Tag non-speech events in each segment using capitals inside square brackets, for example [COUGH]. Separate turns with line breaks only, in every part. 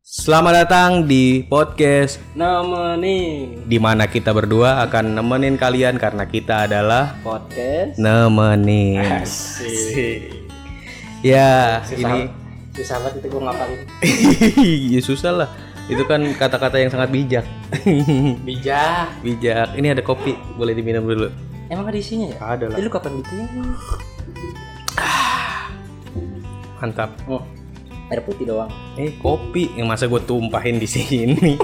Selamat datang di podcast
nemenin
di mana kita berdua akan nemenin kalian karena kita adalah Nah.
podcast
[LAUGHS] nemenin.
si
Ya,
sahabat, si sahabat itu gue ngapalin
ini [LAUGHS] Ya, susah lah. Itu kan kata-kata yang sangat bijak. [LAUGHS]
bijak
bijak. Ini ada kopi, boleh diminum dulu.
emang ada isinya ya
Ada lah.
Eh, lu kapan bikinnya
Mantap.
oh, air putih doang
Eh, kopi yang masa gue tumpahin di sini.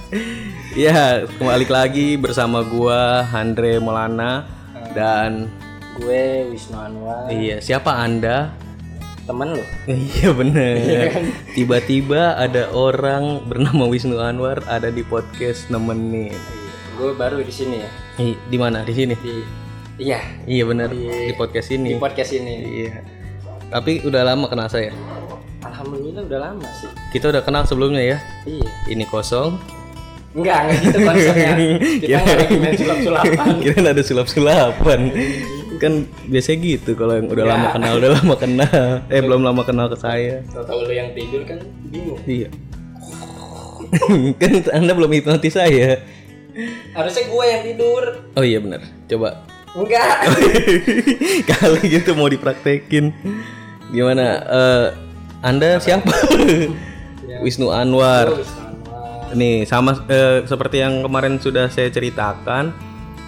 [LAUGHS] ya, kembali lagi bersama gua Andre Melana dan
gue Wisnu Anwar
iya, siapa Anda?
temen lu
Iya bener Tiba-tiba ada orang bernama Wisnu Anwar ada di podcast nemenin.
Iya. gue baru di sini ya
I- Di mana? Di sini.
di iya
Iya bener
Di-
di podcast
di
ini.
podcast ini
Iya. Tapi udah lama kenal saya.
alhamdulillah udah lama sih
Kita udah kenal sebelumnya ya.
iya
Ini kosong. [LAUGHS]
enggak enggak gitu konsepnya
Iya.
kita nggak lagi main sulap sulapan
[LAUGHS] Kira ada sulap-sulapan. kan biasanya gitu kalau yang udah lama kenal udah lama kenal. Eh belum lama kenal ke saya.
tau lu yang tidur kan bingung
Iya. [LAUGHS] kan Anda belum hipnotis saya.
harusnya gue yang tidur
Oh iya bener Coba
enggak
[LAUGHS] Kalau gitu mau dipraktekin Gimana? eh, anda siapa? Wisnu Anwar.
Wisnu Anwar
Nih sama eh, seperti yang kemarin sudah saya ceritakan,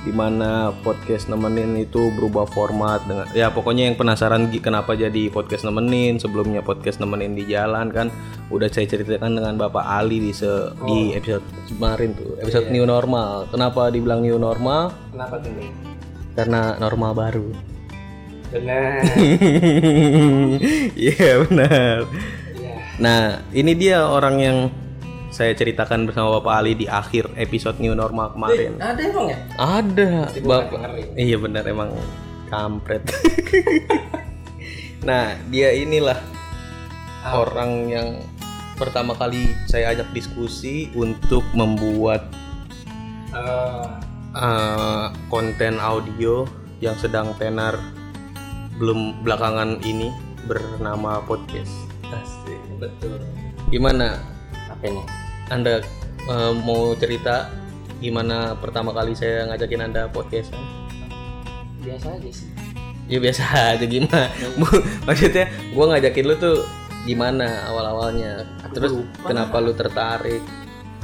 di mana podcast nemenin itu berubah format dengan ya pokoknya yang penasaran gi- kenapa jadi podcast nemenin sebelumnya podcast nemenin di jalan kan udah saya ceritakan dengan Bapak Ali di se- di episode kemarin tuh episode new normal kenapa dibilang new normal
kenapa tuh nih
karena normal baru
[LAUGHS] benar
Iya benar.
ya
Nah ini dia orang yang saya ceritakan bersama Bapak Ali di akhir episode New Normal kemarin.
ada emang ya
Ada Bapak.
dengerin
Iya benar emang kampret. [LAUGHS] nah dia inilah orang yang pertama kali saya ajak diskusi untuk membuat
Eh,
eh, konten audio yang sedang tenar belum belakangan ini bernama podcast. Asik.
betul
Gimana
apa ini
Anda eh, mau cerita gimana pertama kali saya ngajakin Anda podcastan?
biasa aja sih
Ya biasa [LAUGHS] aja gimana. Bu- Maksudnya gua ngajakin lu tuh gimana awal-awalnya? Terus
lupa.
kenapa lu tertarik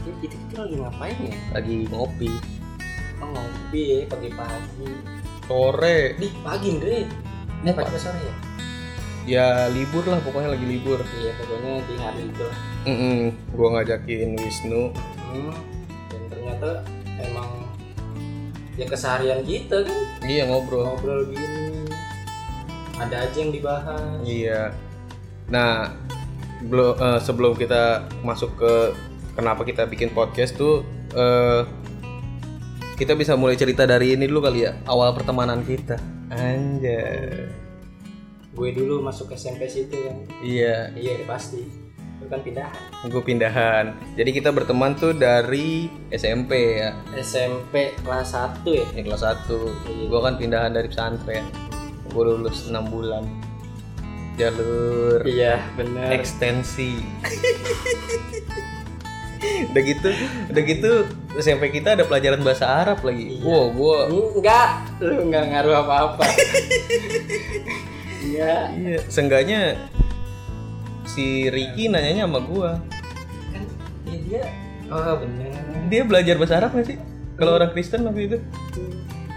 Ini kita kita lagi ngapain ya
lagi ngopi?
oh, ngopi ya, pagi-pagi
Sore.
di pagi Andre ini pagi apa sore ya
Ya libur lah pokoknya lagi libur.
iya pokoknya di hari itu lah
Mm gua ngajakin Wisnu
hmm. dan ternyata emang ya keseharian kita kan
Iya ngobrol.
ngobrol gini ada aja yang dibahas
Iya. Nah, belum eh, sebelum kita masuk ke kenapa kita bikin podcast tuh eh, kita bisa mulai cerita dari ini dulu kali ya awal pertemanan kita. Anjay.
gue dulu masuk SMP situ kan
Iya,
iya pasti itu kan pindahan
gue pindahan. Jadi kita berteman tuh dari SMP ya,
SMP kelas 1 ya
ya kelas 1. Gue kan pindahan dari pesantren. Gue lulus 6 bulan. Jalur
iya bener
ekstensi udah gitu udah gitu SMP kita ada pelajaran bahasa Arab lagi wow gua
enggak lu enggak ngaruh [LAUGHS] apa-apa iya
iya seenggaknya si Ricky nanyanya sama gua
kan ya dia oh bener
dia belajar bahasa Arab nggak sih kalau orang Kristen waktu itu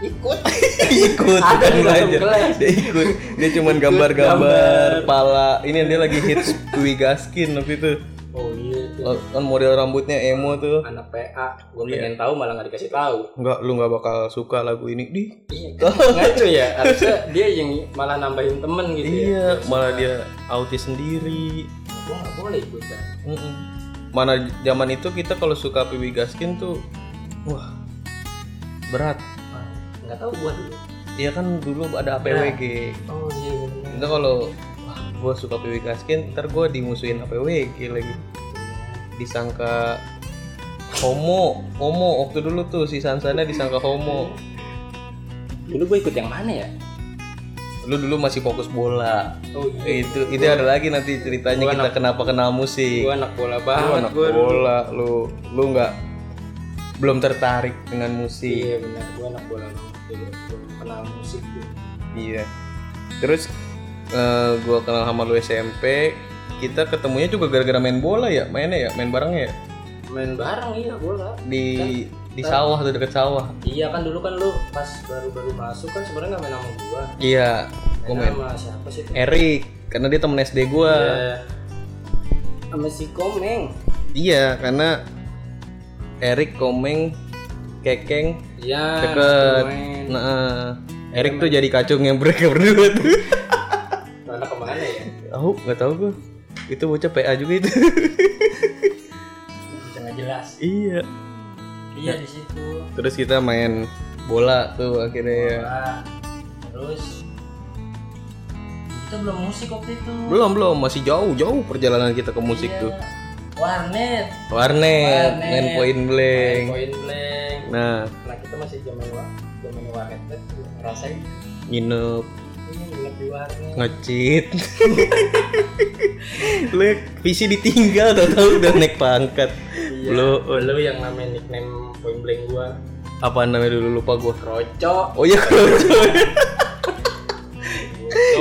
ikut
[LAUGHS] ikut bukan
Ada di dalam
belajar
kelas.
dia ikut dia cuman gambar-gambar pala ini dia lagi hits Wigaskin waktu itu
oh iya Iya. tuh.
kan model rambutnya emo tuh
anak PA gue pengen tahu malah nggak dikasih tahu
Enggak, lu nggak bakal suka lagu ini di
iya ngaco ya harusnya dia yang malah nambahin temen gitu ya
Iya, malah dia autis sendiri.
gue nggak boleh ikutan
Mm-mm. Mana zaman itu kita kalau suka PB Gaskin tuh, wah berat.
Ah, nggak tahu gua dulu
Iya kan dulu ada APWG.
oh iya bener
Kita kalau wah gue suka PB Gaskin, ntar gue dimusuhin APWG lagi. Disangka homo, homo waktu dulu tuh si Sansana disangka homo.
dulu gue ikut yang mana ya
lu dulu masih fokus bola
Oh iya.
itu itu ada lagi nanti ceritanya kita kenapa kenal musik
Gue anak
lu
bola banget
anak
gue.
bola lu lu nggak belum tertarik dengan musik
Iya benar, gue anak bola banget. Jadi gua kenal musik gue.
iya terus eh, gua kenal sama lu SMP kita ketemunya juga gara-gara main bola ya mainnya ya main barengnya ya
Main Kan? bareng iya bola.
di di sawah tuh deket sawah
Iya kan dulu kan lu pas baru-baru masuk kan sebenarnya nggak main sama gue.
iya gua
Main sama siapa sih?
Erik karena dia temen SD gua
Eh, Sama si Komeng.
Iya, karena Erik Komeng Kekeng
Iya.
deket.
Komeng.
Nah, eh, Erik tuh jadi kacung yang mereka berdua tuh.
Mana kemana ya?
Tahu? Gak tahu gua. Itu bocah PA juga itu.
Jangan jelas.
[LAUGHS] iya.
Iya di situ.
Terus kita main bola tuh akhirnya. ya.
Bola. Terus kita belum musik waktu itu. Iya.
Belum belum masih jauh jauh perjalanan kita ke musik tuh.
Warnet.
Iya. Warnet,
Warnet.
main point blank.
Poin blank.
Nah,
Nah kita masih zaman wa, zaman warnet kan ngerasain
nginep
ini nginep di warnet.
[LAUGHS] ngecit lu visi ditinggal tau tau udah naik pangkat
Iya.
lu
Lu yang namanya nickname poin blank gua
apa namanya dulu lupa gua [LAUGHS]
Kroco.
oh iya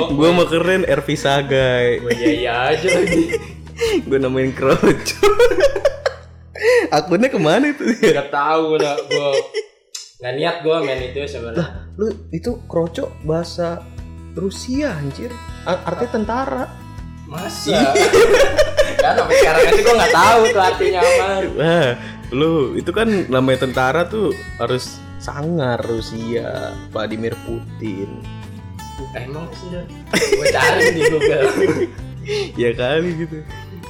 gue mah keren RV Sagai
Iya, Gua iya iya aja lagi.
gue namain kroco [LAUGHS] akunnya kemana itu
Gak tau lah gua. Gak niat gua main itu sebenarnya.
lu itu kroco bahasa Rusia anjir A- artinya tentara
Masa? [LAUGHS] kan sampai sekarang aja gua nggak tahu tuh artinya apa.
wah Eh, lu itu kan namanya tentara tuh harus sangar Rusia Vladimir [LAUGHS] Putin
Emang sih Dok? Gua cari di Google.
ya kali gitu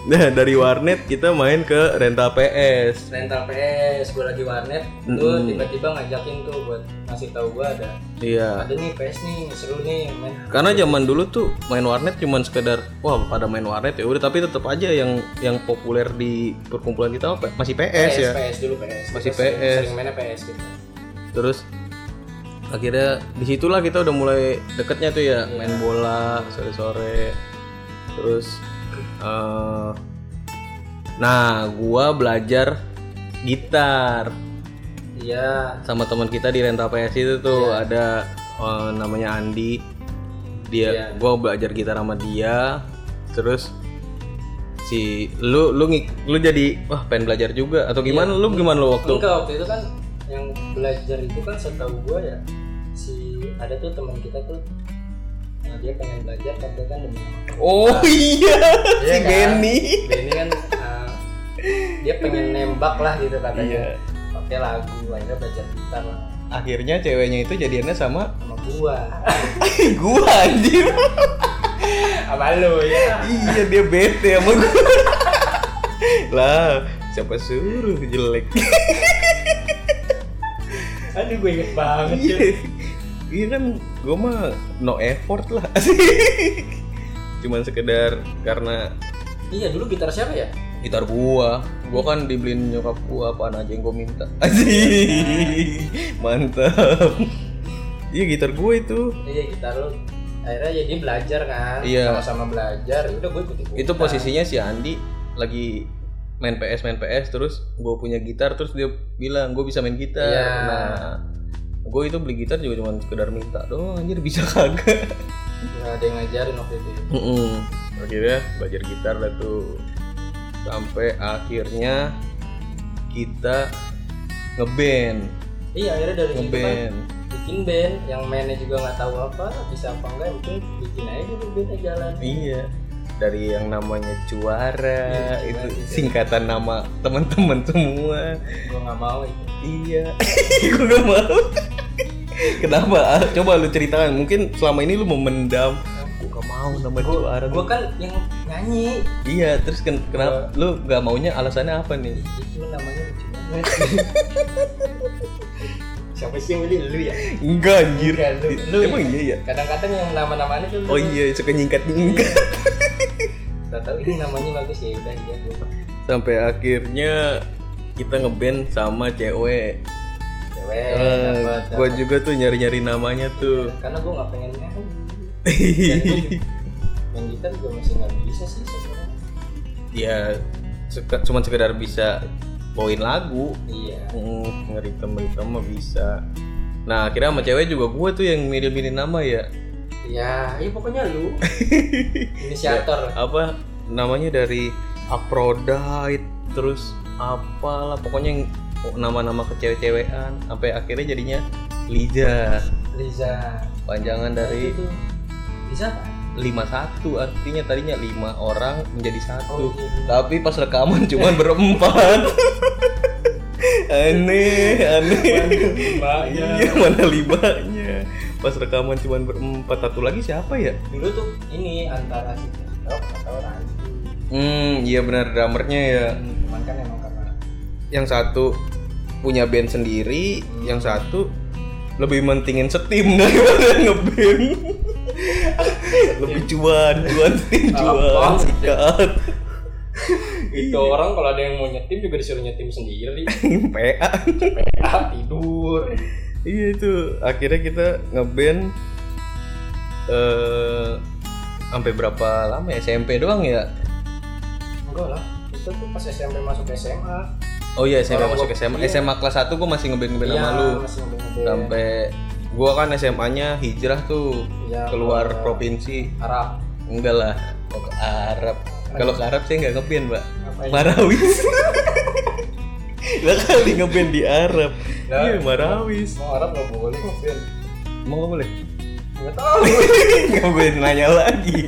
nah dari warnet kita main ke rental PS
Rental PS gua lagi warnet. Lu tiba-tiba ngajakin tuh buat ngasih tahu gua ada
iya
ada nih PS nih seru nih main
karena zaman dulu tuh main warnet cuman sekedar wah pada main warnet ya udah tapi tetap aja yang yang populer di perkumpulan kita apa masih PS
PS,
ya
PS dulu PS.
Masih
Kita sering-
PS.
Sering mainnya PS gitu.
terus akhirnya disitulah kita udah mulai deketnya tuh ya
Iya.
main bola sore-sore terus eh nah gua belajar gitar
Iya.
sama teman kita di rental PS itu tuh ada eh, namanya Andi
Iya.
dia gua belajar gitar sama dia terus si lu lu ngik- lu jadi wah pengen belajar juga atau gimana lu gimana lu waktu
Iya. Enggak waktu itu kan yang belajar itu kan setahu gua ya si ada tuh teman kita tuh nah dia pengen belajar tapi dia kan demi nama
oh [LAUGHS] iya si
Iya kan?
Benny
dia ini kan uh, dia pengen nembak lah gitu
Iya.
katanya pakai lagu akhirnya belajar gitar lah
akhirnya ceweknya itu jadiannya sama [LAUGHS]
sama gua [LAUGHS]
gua anjir
sama lo ya
iya dia bete sama gua [LAUGHS] lah siapa suruh jelek
aduh gue inget banget ya.
Iya kan gue mah no effort lah [LAUGHS] Cuman sekedar karena
iya dulu gitar siapa ya
gitar gua Gua kan dibeliin nyokap gua apaan aja yang gua minta [LAUGHS] Mantap Iya gitar gua itu
iya gitar lo akhirnya ya dia belajar kan
Iya.
sama-sama belajar Ya udah gue ikut ikut
Itu posisinya si Andi lagi main PS main PS terus gua punya gitar terus dia bilang gua bisa main gitar
Iya.
Nah gue itu beli gitar juga cuman sekedar minta doang anjir bisa kagak
nggak ada yang ngajarin waktu itu
Mm-mm. Akhirnya belajar gitar lah tuh sampai akhirnya kita ngeband,
iya akhirnya dari situ kan
ngeband.
bikin band yang mainnya juga nggak tahu apa bisa apa enggak mungkin bikin aja dulu bandnya jalan
Iya. Dari yang namanya juara
Iya,
itu
juara.
singkatan nama teman-teman semua.
gue nggak mau itu
Iya. [LAUGHS] Gue gak mau. Kenapa? Ah, Coba lu ceritakan. Mungkin selama ini lu memendam. Gue gak mau nama juara.
gue kan yang nyanyi
Iya. Terus ken- kenapa? Lu gak maunya alasannya apa nih?
itu namanya lucu banget
[LAUGHS]
siapa sih yang beli lu ya
Enggak anjir.
Enggak, lu- lu-
Emang iya ya?
kadang-kadang yang nama-namanya tuh lu
Oh iya, suka nyingkat-nyingkat.
nggak tahu ini namanya bagus ya udah iya gue
[LAUGHS] Sampai akhirnya kita ngeband sama cewek.
cewek
Eh,
dapat
gua juga tuh nyari-nyari namanya tuh.
karena gue nggak pengen nyanyi Dan gua
[LAUGHS]
[LAUGHS] juga- main gitar juga masih nggak bisa sih sebenarnya
ya sek- cuman sekedar bisa bawain lagu
iya
Mm, ngeritem ngeritem mah bisa nah akhirnya sama cewek juga gue tuh yang milih-milih nama ya
iya iya pokoknya [LAUGHS] lu inisiator
apa namanya dari Aphrodite terus apalah pokoknya yang nama-nama kecewe-cewean sampai akhirnya jadinya Liza
Liza
panjangan dari
itu Liza apa?
51 artinya tadinya lima orang menjadi satu
oh iya
tapi pas rekaman cuman [LAUGHS] berempat aneh aneh
Mbaknya.
iya mana libanya pas rekaman cuman berempat satu lagi siapa ya
dulu tuh ini antara si Jendok atau Randy
hmm iya benar drummernya ya
cuman kan emang karena
yang satu punya band sendiri yang satu lebih mentingin setim daripada [LAUGHS] ngeband lebih cuan [LAUGHS] cuan setim
Apa?
cuan sikat
itu orang kalau ada yang mau nyetim juga disuruh nyetim [LAUGHS] sendiri
PA
PA tidur
[LAUGHS] Iya itu akhirnya kita ngeband eh sampai berapa lama ya? SMP doang ya?
enggak lah itu tuh pas SMP masuk SMA
Oh iya SMA
Kalau
masuk
gua-
SMA.
iya.
SMA kelas 1 gua masih ngeband ngeband sama lu.
masih ngeband-ngeband.
Sampai gua kan SMA-nya hijrah tuh
Iya,
keluar
ke
provinsi.
Arab
Enggak lah, mau ke Arab. Iya. Kalau ke Arab saya nggak ngeband, Mbak.
Ngapain?
Marawis. Lah kali ngeband di Arab. Iya, Marawis.
mau Arab nggak boleh ngeband
Emang nggak boleh?
nggak tahu
nggak boleh nanya lagi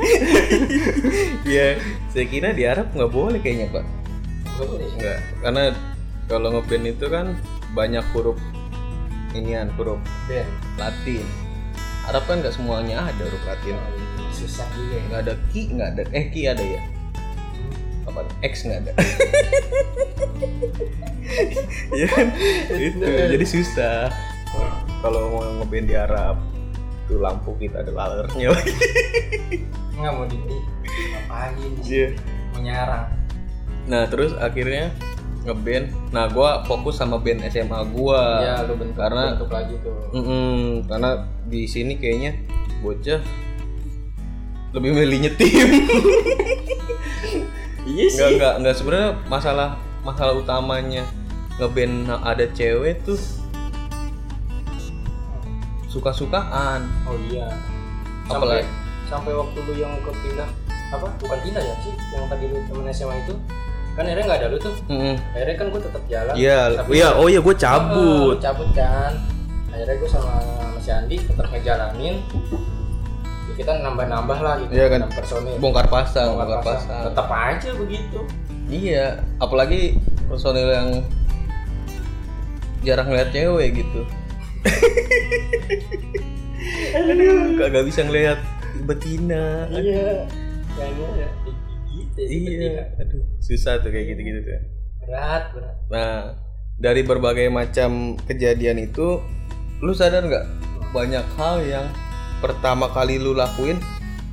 ya saya kira di Arab nggak boleh kayaknya pak
nggak boleh
nggak karena kalau ngeband itu kan banyak huruf inian huruf
band
Latin Arab kan nggak semuanya ada huruf Latin
susah juga ya
nggak ada ki nggak ada eh ki ada ya apa X nggak [LAUGHS] ada ya kan? itu jadi susah kalau mau ngeband di Arab tuh lampu kita ada lalernya lagi
nggak mau di ngapain sih
Iya.
mau nyarang
[LAUGHS] Nah terus akhirnya ngeband. Nah gua fokus sama band SMA gua.
Iya, lu bentuk
karena- Hmm.
bentuk lagi tuh
Mm-mm, karena di sini kayaknya bocah lebih milih [LAUGHS] nyetim.
iya
Enggak enggak enggak sebenarnya masalah masalah utamanya ngeband ada cewek tuh suka-sukaan.
oh iya sampai
Apalagi
sampai waktu lu yang ke pindah apa bukan pindah ya sih yang tadi lu temen SMA itu kan akhirnya nggak ada lu tuh
Mm-mm.
akhirnya kan gue tetap jalan
Iya,
Tapi-
iya, oh iya, gue
Eh,
cabut.
cabut kan akhirnya gue sama sama si Andi tetap ngejalanin ya kita nambah-nambah lah gitu
Iya kan.
enam personil
Bongkar pasang,
Nggak
bongkar
pasang.
pasang.
tetap aja begitu
Iya, apalagi personil yang jarang ngeliat cewek gitu. Aduh, kagak bisa ngeliat betina.
iya kayaknya ya digigit ya,
Iya,
digigit.
aduh, susah tuh kayak gitu-gitu tuh.
berat berat
Nah, dari berbagai macam kejadian itu, lu sadar nggak banyak hal yang pertama kali lu lakuin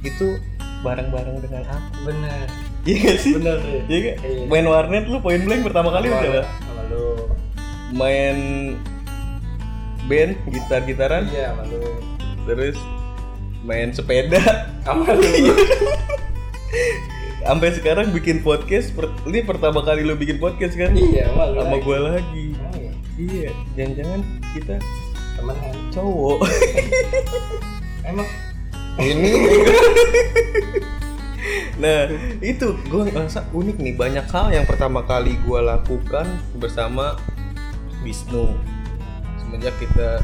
itu bareng-bareng dengan aku.
bener
Iya nggak sih?
bener ya
Iya nggak?
Iya.
Main warnet lu poin blank pertama kali
ya,
udah lah.
sama lu
main band gitar gitaran
iya sama lu
terus main sepeda [LAUGHS]
sama lu
sampai sekarang bikin podcast per- ini pertama kali lo bikin podcast kan
[LAUGHS] iya sama lu
sama
lagi.
gue lagi
Emang ya,
iya jangan-jangan kita
temenan
cowok
emang
ini [LAUGHS] nah itu gue ngerasa unik nih banyak hal yang pertama kali gue lakukan bersama Wisnu semenjak kita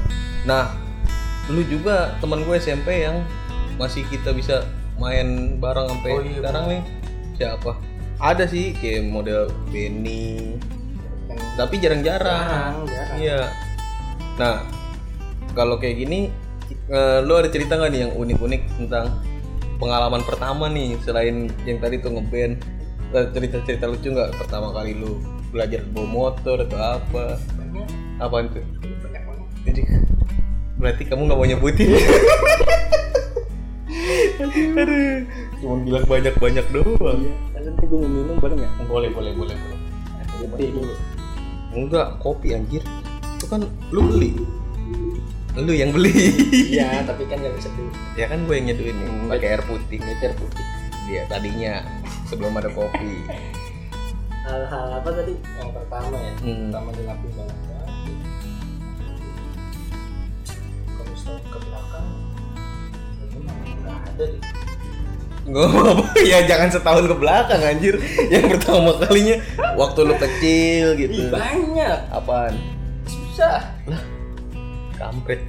nah lu juga teman gue SMP yang masih kita bisa main bareng sampai
Oh iya,
sekarang nih siapa ada sih kayak model Benny tapi jarang-jarang
jarang jarang
Iya. Nah, kalau kayak gini, eh, lo ada cerita nggak nih yang unik-unik tentang pengalaman pertama nih selain yang tadi tuh ngeband? Ada Cerita-cerita lucu nggak pertama kali lu belajar bawa motor atau apa?
banyak
Apaan tuh?
banyak banget
Jadi berarti kamu nggak mau nyebutin? Aduh, cuma bilang banyak-banyak doang.
kan nanti gue mau minum boleh nggak
Boleh, boleh, boleh, boleh.
Berhenti dulu
Enggak, kopi anjir. Itu kan lu beli. lu yang beli
iya tapi kan nggak bisa dulu
ya kan gue yang nyeduin nih pakai air putih
mikir putih
dia tadinya sebelum ada [LAUGHS] kopi
hal-hal apa tadi yang pertama ya
Hmm.
pertama dilakuin banget kalau setahun ke belakang kayaknya nggak ada deh
Gak apa-apa ya jangan setahun ke belakang anjir Yang pertama kalinya waktu lu kecil
Ih,
gitu
banyak
Apaan?
susah
Kampret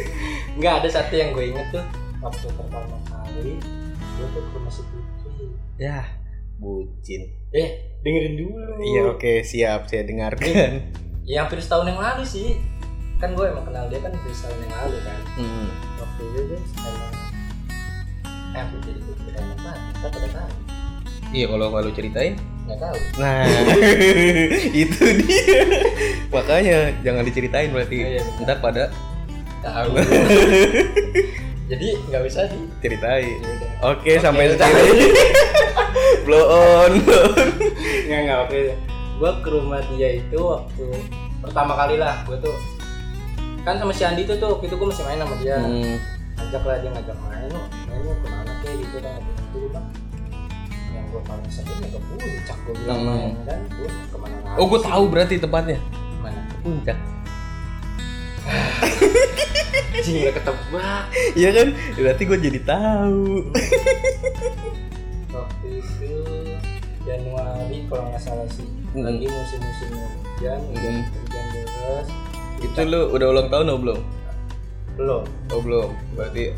[LAUGHS]
nggak ada satu yang gue inget tuh waktu pertama kali gue tuh ke rumah si Putri
Ya bucin
eh dengerin dulu
Iya oke siap saya dengarkan
ya hampir setahun yang lalu sih kan gue emang kenal dia kan hampir setahun yang lalu kan
hmm.
waktu itu dia emang eh aku jadi putri kan apa kita pada tahu
Iya kalau kalau ceritain
nggak tahu
[LAUGHS] Nah itu dia Makanya jangan diceritain berarti
Iya, iya.
Ntar pada
[LAUGHS] tahu jadi nggak bisa di
ceritain
Yaudah.
Oke, sampai
udah.
[LAUGHS] sini Blow on blow on.
nggak nggak oke gue ke rumah dia itu waktu pertama kali lah gue tuh kan sama si Andi tuh tuh waktu itu gue masih main sama dia
Hmm.
ajak lah dia ngajak main lo main lo kemana kek gitu kan ngajak dulu bang yang gue paling sakit ya ke puncak gue bilang
Hmm.
main kan gue kemana lagi
Oh gue
sih?
tahu berarti tempatnya
mana
Puncak
anjing udah ketebak
Iya kan? Berarti gue jadi tahu.
waktu itu Januari kalau nggak salah sih
Hmm.
lagi musim-musim hujan hujan
Hmm.
hujan deras
Itu lu udah ulang tahun atau belum?
belum
Oh belum. Berarti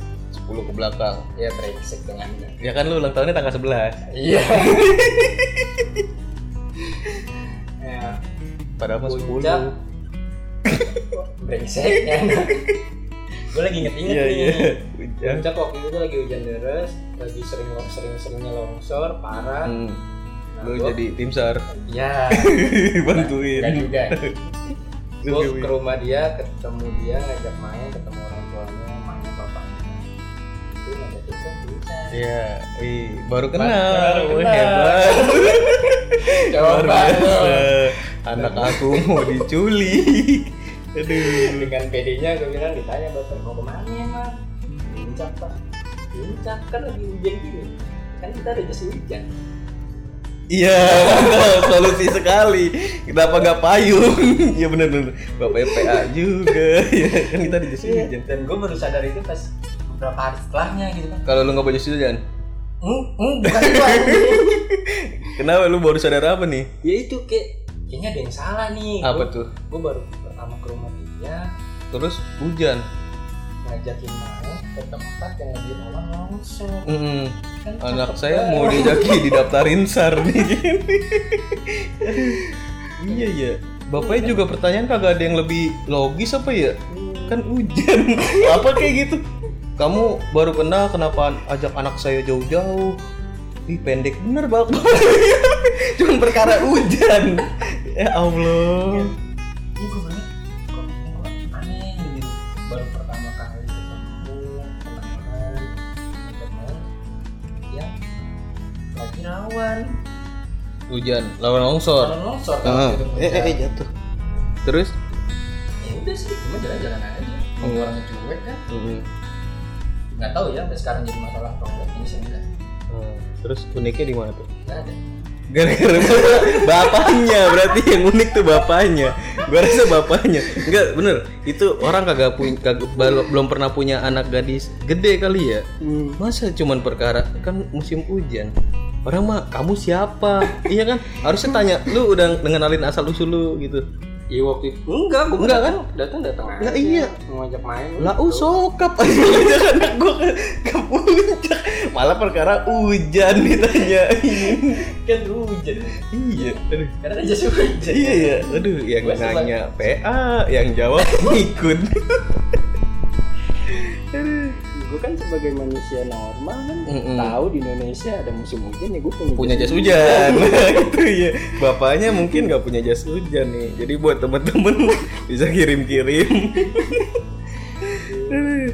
10 ke belakang.
ya brengsek dengan
Ya
dia
kan lu ulang tahunnya tanggal 11.
iya [LAUGHS] ya
Padahal mah 10.
puncak brengsek ya gue lagi inget-inget
Iya
nih
iya. Puncak.
Puncak waktu itu lagi hujan deras, lagi sering sering seringnya longsor, parah.
Hmm.
Nah,
Lu
gua-
jadi tim sar. [LAUGHS]
ya,
Bantuin.
enggak juga.
Lu
Gue
Dewi.
ke rumah dia, ketemu dia, ngajak main, ketemu orang tuanya, mamanya, bapaknya. Itu ngajak kita puncak.
Iya. Ih, baru kenal.
Baru
Wih,
kenal.
[LAUGHS] Hebat. Luar
Coba
biasa.
lu.
Anak aku mau diculik. Aduh.
dengan PD-nya gue bilang ditanya bapak mau kemana emang? Puncak pak. Puncak kan lagi hujan gini. Kan kita ada jas hujan.
[LAUGHS] Iya, [LAUGHS] mantap. solusi sekali. Kenapa nggak payung? [LAUGHS] Iya benar benar. Bapak PA juga. [LAUGHS] Ya kan kita di jas hujan.
Dan gue baru sadar itu pas beberapa hari setelahnya gitu kan.
Kalau lu nggak baju hujan,
Hmm, hmm, bukan itu. anjing.
kenapa lu baru sadar apa nih?
[LAUGHS] ya itu kayak kayaknya ada yang salah nih
Apa tuh?
gue baru pertama ke rumah dia
Terus hujan.
ngajakin main ke tempat yang lagi orang langsung
Mm-mm.
kan
Anak
cakep
saya mau
banget.
dijaki didaftarin sar nih. iya iya. Bapaknya juga pertanyaan kagak ada yang lebih logis apa ya?
Hmm,
kan hujan apa kayak gitu kamu baru kenal kenapa ajak anak saya jauh-jauh ih pendek bener bang [LAUGHS] cuman perkara hujan ya
Iya.
allah
ini gue bilang kok kok aneh gitu baru pertama kali ketemu kenalan ngajak main yang lagi rawan
hujan lawan longsor
orang longsor kan
Ah.
gitu.
eh, eh, eh, jatuh terus
ya udah sih cuma jalan-jalan aja
Hmm.
orang cuek kan nggak tahu ya sampai sekarang jadi masalah apa enggak ini sih enggak
Hmm, terus uniknya di mana tuh
Nggak ada
gara-gara [LAUGHS] bapaknya berarti yang unik tuh bapaknya gue rasa bapaknya enggak bener itu orang kagak punya kagak- bal- belum pernah punya anak gadis gede kali ya masa cuman perkara kan musim hujan orang mah kamu siapa iya kan harusnya tanya lu udah ngenalin asal usul lu gitu
Iya waktu itu enggak, gua
Enggak
datang- datang datang.
Ya,
aja.
iya.
mau ngajak main.
lah oh sokap [LAUGHS] aja anak gua ke, ke puncak malah perkara hujan ditanyain
kan hujan.
[LAUGHS] iya aduh
Karena aja suka hujan.
iya ya aduh yang
Gua sebel-
nanya PA yang jawab [LAUGHS] ngikut
Gue kan sebagai manusia normal kan
Mm-mm.
tahu di Indonesia ada musim hujan ya gue punya,
punya jas hujan [LAUGHS] Nah, itu ya bapaknya mungkin nggak punya jas hujan nih jadi buat temen-temen [LAUGHS] bisa kirim-kirim [LAUGHS]
Terus,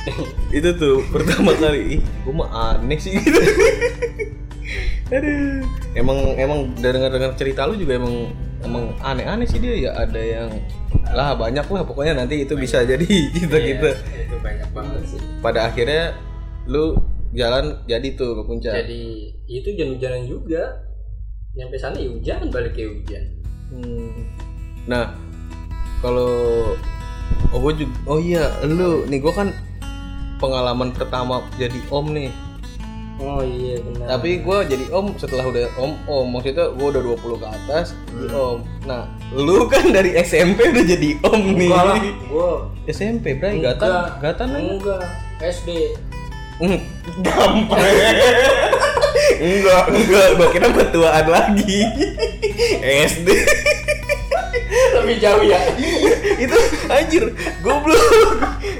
Gitu, itu tuh pertama kali ih gue mah aneh sih gitu [LAUGHS] aduh emang emang dengar dengar cerita lu juga emang emang aneh aneh sih dia ya ada yang lah banyak lah pokoknya nanti itu bisa jadi [LAUGHS] gitu gitu
Iya, itu banyak banget sih
pada akhirnya lu jalan jadi tuh ke puncak
jadi itu hujan-hujanan juga nyampe sana ya hujan balik ya hujan
Hmm. Nah, kalau oh gue juga oh iya lu nih gue kan pengalaman pertama jadi om nih.
oh iya benar
Tapi gue jadi om setelah udah om om maksudnya gue udah 20 ke atas jadi
Hmm.
om. Nah, lu kan dari [LAUGHS] SMP udah jadi om nih. Eh,
enggak lah gua
SMP berarti
Enggak.
gatan gatan aja.
enggak
[LAUGHS]
SD
Hmm, Gampang. enggak, enggak, gue kira petuaan lagi. SD
lebih jauh ya
itu anjir goblok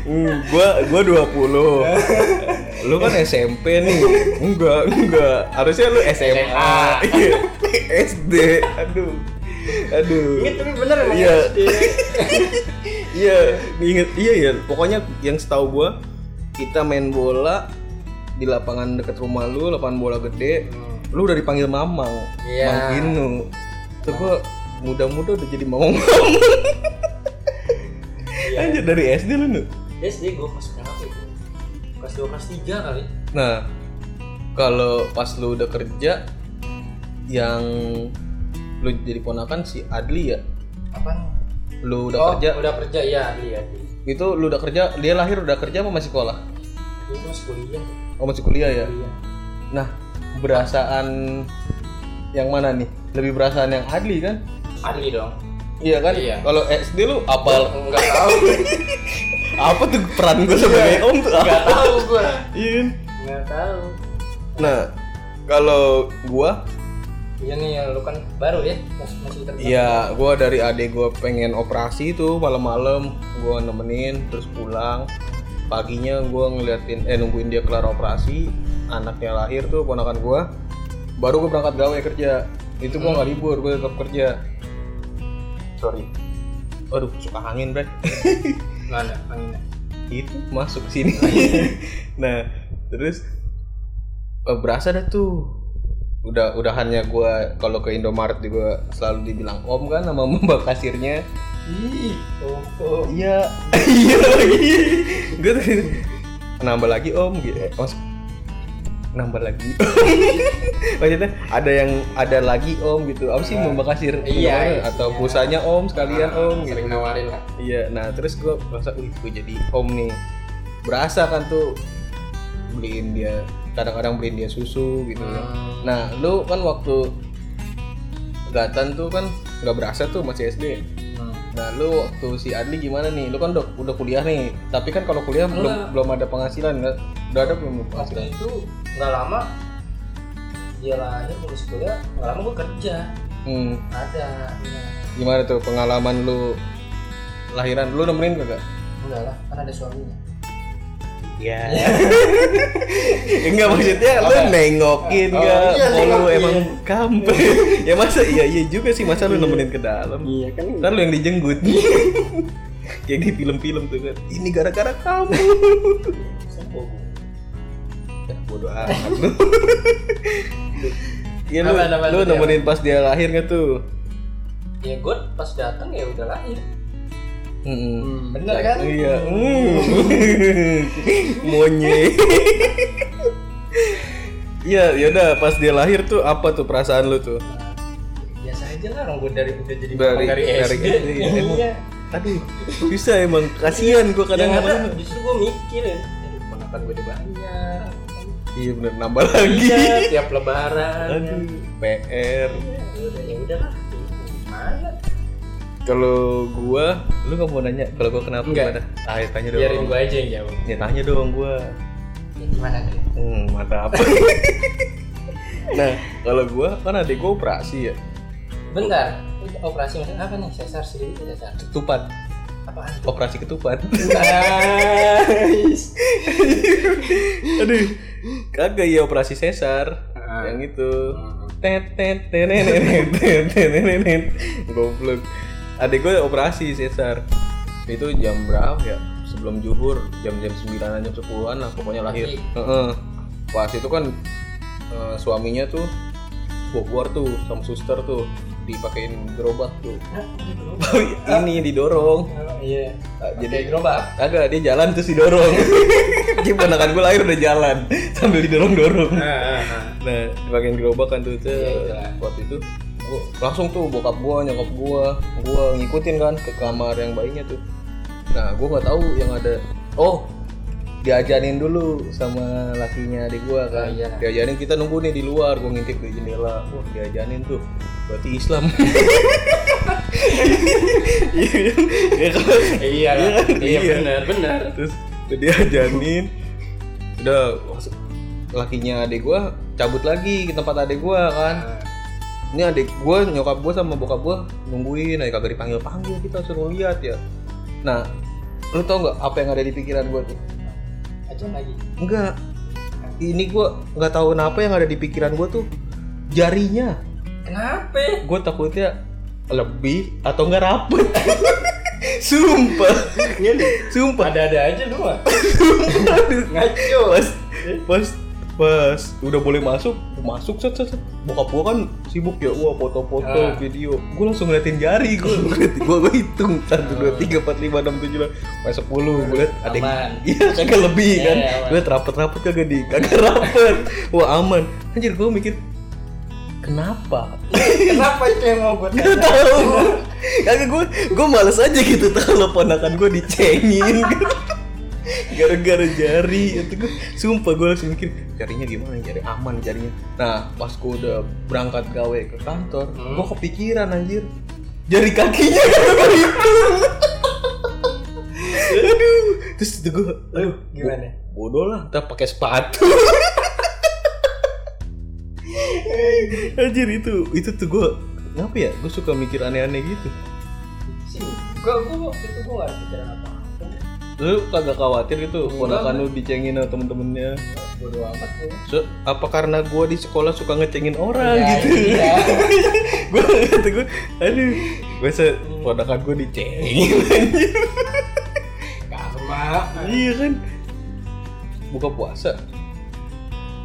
Hmm, gua gua 20 lu kan SMP nih enggak enggak harusnya lu SMA Iya. SD aduh aduh
ini tapi bener emang
Iya.
SD
[LAUGHS] iya inget iya ya pokoknya yang setahu gua kita main bola di lapangan deket rumah lu lapangan bola gede lu udah dipanggil mamang
Iya.
mang Ginu tuh gua muda-muda udah jadi mamang
Iya.
[LAUGHS] Anjir dari SD lu nu.
SD gua kelas berapa itu kelas dua kelas tiga kali
Nah, kalau pas lu udah kerja yang lu jadi ponakan si Adli ya.
apa
Lu udah
oh,
kerja
udah kerja ya iya iya.
itu lu udah kerja dia lahir udah kerja apa masih sekolah?
Itu masih kuliah
Oh masih kuliah ya.
kuliah
Nah, berasaan yang mana nih? Lebih berasaan yang Adli kan?
Adli dong
Iya kan?
Iya.
Kalau SD lu apa
enggak [LAUGHS] tahu
apa tuh peran gue sebagai om tuh apa?
Iya. enggak tahu gua
Iya kan?
enggak tahu
Nah, kalau gua
iya nih ya, lu kan baru ya masih masih terbaru
Iya, gua dari adik gua pengen operasi itu malam-malam gua nemenin terus pulang. Paginya gua ngeliatin eh nungguin dia kelar operasi, anaknya lahir tuh ponakan gua. Baru gua berangkat gawe kerja. Itu gua nggak libur, gua tetap kerja. Hmm. Sorry. Aduh, suka angin, Bre.
mana anginnya
itu masuk
[LAUGHS]
sini. nah, terus eh, berasa dah tuh udah udahannya gua kalau ke Indomaret juga selalu dibilang om kan sama [LAUGHS] mbak kasirnya
ih oh, oh.
iya [LAUGHS] iya lagi gue tuh gitu, nambah lagi om gitu Mas, nambah lagi [LAUGHS] maksudnya ada yang ada lagi om gitu apa sih mbak kasir
Nah. Iya, Ah,
atau pulsanya om sekalian om gitu
sering nawarin lah
Iya, nah terus gue merasa, wih gue jadi om nih Berasa kan tuh beliin dia, kadang-kadang beliin dia susu gitu kan
Hmm.
Nah lu kan waktu gatan tuh kan nggak berasa tuh masih SD Nah lu waktu si Adli gimana nih, lu kan udah, udah kuliah nih Tapi kan kalau kuliah belum,
Enggak.
belum ada penghasilan kan Udah ada belum
waktu
penghasilan?
itu nggak lama dia lahir lulus kuliah nggak lama gue kerja
Hmm,
ada iya.
gimana tuh pengalaman lu lahiran, lu nemenin gak?
enggak lah kan ada suaminya
Iya. [LAUGHS] Enggak maksudnya lu
Ya. Apa?
nengokin
Oh,
enggak?
iya,
Mau lu
nengokin.
emang
[LAUGHS]
kampung. ya masa iya iya juga sih masa lu nemenin ke dalam.
iya kan
Ntar lu yang dijenggut. [LAUGHS] Kayak di film-film tuh kan. Ini gara-gara kamu. [LAUGHS] ya, bodoh amat
[LAUGHS]
lu. Iya lu,
Apa, apa,
lu
apa,
nemenin pas dia lahir nggak tuh?
ya gue pas datang ya udah lahir
Mm-mm.
bener kan
Iya. Mm. [LAUGHS] Monyet. Iya, yaudah pas dia lahir tuh apa tuh perasaan lu tuh?
biasa aja lah orang gue dari udah jadi
Dari-
dari, dari,
dari
SD,
SD, iya.
iya
Aduh, bisa emang kasihan gua
kadang
kadang
ada
kadang
justru gue mikir ya aduh ponakan gue udah banyak
Iya bener nambah lagi.
iya tiap lebaran
Aduh, PR.
ya udah ya udah lah gimana
Kalau gua, lu nggak mau nanya kalau gua kenapa
Nggak.
gimana? Ah, ya tanya dong.
biarin gue aja yang jawab
Ya tanya dong gua.
ya, gimana tuh
Hmm,
[LAUGHS]
mata apa? nah, kalau gua kan adik gua operasi ya,
Bentar, operasi maksudnya apa nih? Sesar sendiri sesar.
ketupat.
Apaan?
Operasi ketupat. Nah,
Guys.
[LAUGHS] Aduh, kagak ya operasi sesar
Ah.
yang itu. Tet tet tenenenet, tet tenenenet. Goblok. Adik gue operasi sesar. Itu jam berapa ya? Sebelum zuhur, jam-jam 9 jam 10-an lah pokoknya lahir.
Pagi.
Heeh. Pas itu kan eh, suaminya tuh bogor tuh sama suster tuh dipakein gerobak tuh
Nah, gitu.
Oh, ini didorong
Oh, Iya.
Ah,
Jadi
jadi
gerobak.
kagak dia jalan terus [LAUGHS] didorong jadi ponakan gue lahir udah jalan sambil didorong dorong nah dipakein gerobak kan tuh tuh
Iya, iya.
waktu itu gua- Oh, langsung tuh bokap gua nyokap gua gua ngikutin kan ke kamar yang bayinya tuh nah gua nggak tahu yang ada oh diajarin dulu sama lakinya adik gua kan
Iya.
diajarin kita nunggu nih di luar gua ngintip di jendela wah diajarin tuh berarti Islam Iya kan? Iya kan?
Iya,
Iya,
iya
iya.
benar, benar.
terus dia janin udah maksud- lakinya adek gua cabut lagi ke tempat adek gua kan ini adek gua nyokap gua sama bokap gua nungguin aja kagak dipanggil panggil kita suruh lihat ya nah lu tau nggak apa yang ada di pikiran gua tuh
Aja lagi.
enggak ini gua nggak tahu kenapa yang ada di pikiran gua tuh jarinya
Kenapa?
gue takutnya lebih atau nggak rapet [LAUGHS] sumpah
Iya,
sumpah
Ada-ada aja lu mah. Ngaco.
pas
Iya.
pas pas udah boleh masuk masuk set set set. bokap gua kan sibuk ya wah foto-foto
Ah.
video gua langsung ngeliatin jari
[LAUGHS]
gua ngeliatin gua, gua hitung
Ah.
satu dua tiga empat lima enam tujuh delapan Sampai sepuluh gua liat ada yang-
Aman.
[LAUGHS] iya kagak lebih
Iya,
kan
iya, aman.
gua liat rapet-rapet kagak di kagak rapet wah aman anjir gua mikir kenapa
Kenapa itu yang mau gue
Gak tau Kagak gue Gue males aja gitu Kalau ponakan gue dicengin Gara-gara jari itu gue Sumpah gue langsung mikir Jarinya gimana Jari aman jarinya Nah pas gue udah berangkat gawe ke kantor
Hmm.
Gue kepikiran anjir Jari kakinya kan gue hitung Aduh Terus itu gue Aduh
Gimana?
bodoh lah ntar pakai sepatu [LAUGHS] anjir itu itu tuh gue kenapa ya gue suka mikir aneh-aneh gitu
Sih, gue gue waktu itu gue gak pikiran apa-apa.
lu kagak khawatir gitu
Enggak.
ponakan lu dicengin sama temen-temennya
Bodoh amat gue.
So, apa karena gue di sekolah suka ngecengin orang
Ya,
gitu [LAUGHS]
[LAUGHS] iya.
gue kata gue aduh biasa ponakan gue
Iya.
dicengin anjir
Karma.
iya kan buka puasa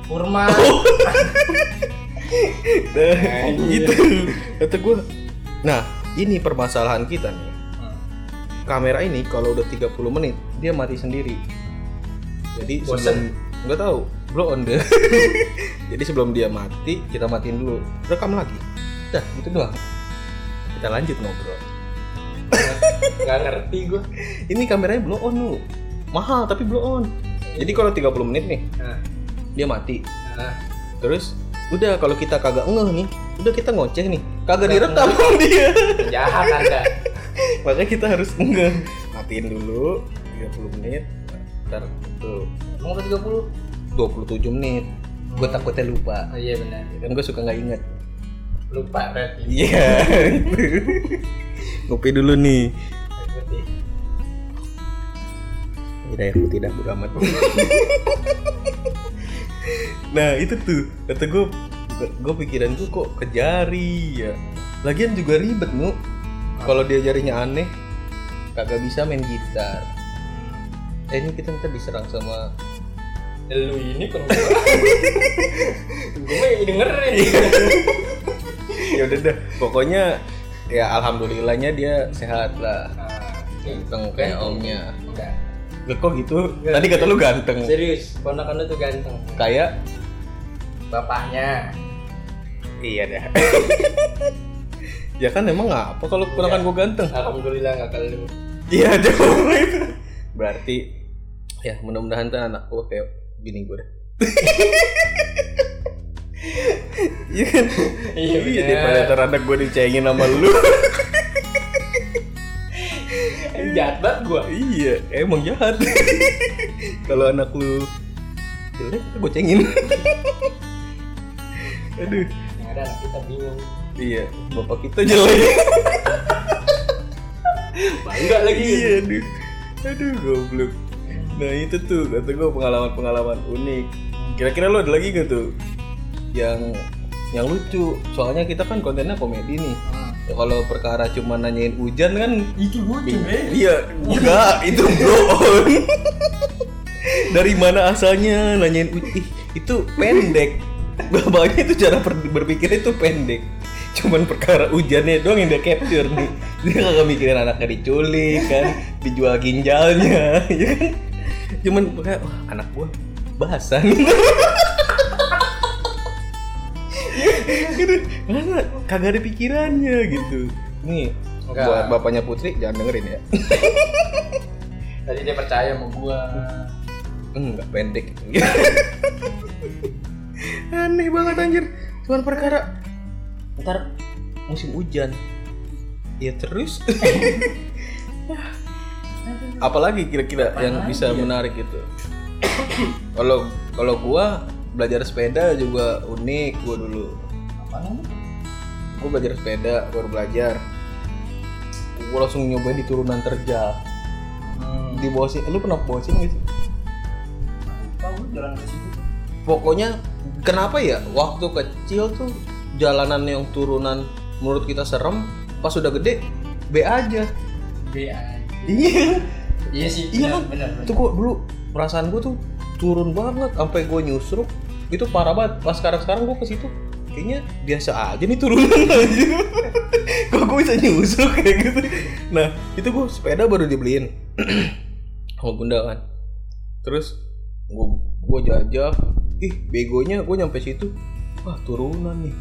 Kurma.
Nah,
Anjir.
[LAUGHS] gitu kata gue nah ini permasalahan kita nih kamera ini kalau udah 30 menit dia mati sendiri. Jadi
Bosen.
sebelum nggak tahu, blow on deh. Jadi sebelum dia mati, kita matiin dulu, rekam lagi. Dah, gitu doang. Kita lanjut ngobrol.
Gak ngerti gue.
Ini kameranya blow on dulu. Mahal tapi blow on. Jadi kalau 30 menit nih,
Nah,
dia mati.
nah.
Terus udah kalau kita kagak ngeh nih, udah kita ngoceh nih. Kagak direkam sama dia. [LAUGHS]
jahat anda.
Makanya kita harus ngeh. Matiin dulu 30 menit. Ntar tuh
Mau ke 30?
27 menit gue takutnya lupa
Oh, iya benar.
kan gue suka nggak inget
Lupa berarti.
iya [LAUGHS] ngopi dulu nih
Berarti.
udah yang tidak bodo amat [LAUGHS] nah itu tuh kata gue gue pikiran gue kok ke jari ya lagian juga ribet nu kalau dia jarinya aneh kagak bisa main gitar eh ini kita ntar diserang sama
Lu ini [LAUGHS] perempuan. gue mah dengerin.
[LAUGHS] ya udah dah pokoknya ya alhamdulillahnya dia sehat lah
Nah,
ganteng kayak omnya
Enggak.
Loh, kok gitu? Tadi kata lu ganteng.
Serius, ponakan lu tuh ganteng.
Kayak
Bapaknya.
iya dah. [LAUGHS] ya kan emang apa kalau ponakan gua ganteng?
Alhamdulillah gak kalau lu.
Iya [LAUGHS] ada orang itu. Berarti ya mudah-mudahan tuh anak gua kayak bini gua dah. [LAUGHS] Iya kan? Iya
Iya, bener.
daripada ntar anak gua dicengin sama [LAUGHS] lu.
Eh, Jahat banget gue.
iya, emang jahat. [LAUGHS] kalau anak lu jelek, gua cengin. [LAUGHS] Aduh.
Yang ada anak kita bingung.
Iya, bapak kita jelek.
Bangga lagi.
iya, aduh. Aduh, goblok. Nah, itu tuh kata gue pengalaman-pengalaman unik. Kira-kira lo ada lagi gak tuh yang yang lucu? Soalnya kita kan kontennya komedi nih. Ya, kalau perkara cuma nanyain hujan kan
Hmm. Itu lucu,
Iya, enggak, itu bro [LAUGHS] on. Dari mana asalnya [LAUGHS] nanyain "Ih, itu pendek. Bapaknya itu cara per- berpikirnya itu pendek. cuman perkara hujannya doang yang dia capture nih [LAUGHS] dia kagak mikirin anaknya diculik kan dijual ginjalnya [LAUGHS] ya kan cuman kayak wah anak gua basah nih [LAUGHS] Gitu. Karena kagak ada pikirannya gitu nih
Enggak.
buat bapaknya Putri jangan dengerin ya
tadi dia percaya sama gua
enggak pendek [LAUGHS] aneh banget anjir cuman perkara ntar musim hujan ya terus apalagi kira-kira
Apaan
yang
lagi
bisa
ya?
menarik itu kalau kalau gua belajar sepeda juga unik gua dulu
apa namanya
gua belajar sepeda baru belajar gua langsung nyobain di turunan terjal
hmm.
di bawah sini lu pernah bawa sini gak sih
lupa gua jalan ke situ
pokoknya kenapa ya waktu kecil tuh jalanan yang turunan menurut kita serem pas sudah gede B aja
B aja
iya
iya sih
Iya kan?
benar
[LAUGHS]
benar
itu kok dulu perasaan gue tuh turun banget sampai gue nyusruk itu parah banget pas sekarang sekarang gue ke situ kayaknya biasa aja nih turunan [LAUGHS] aja kok gue bisa nyusruk kayak gitu nah itu gue sepeda baru dibeliin [CLEARS THROAT] sama bunda kan terus gue gue jajak ih begonya gue nyampe situ wah turunan nih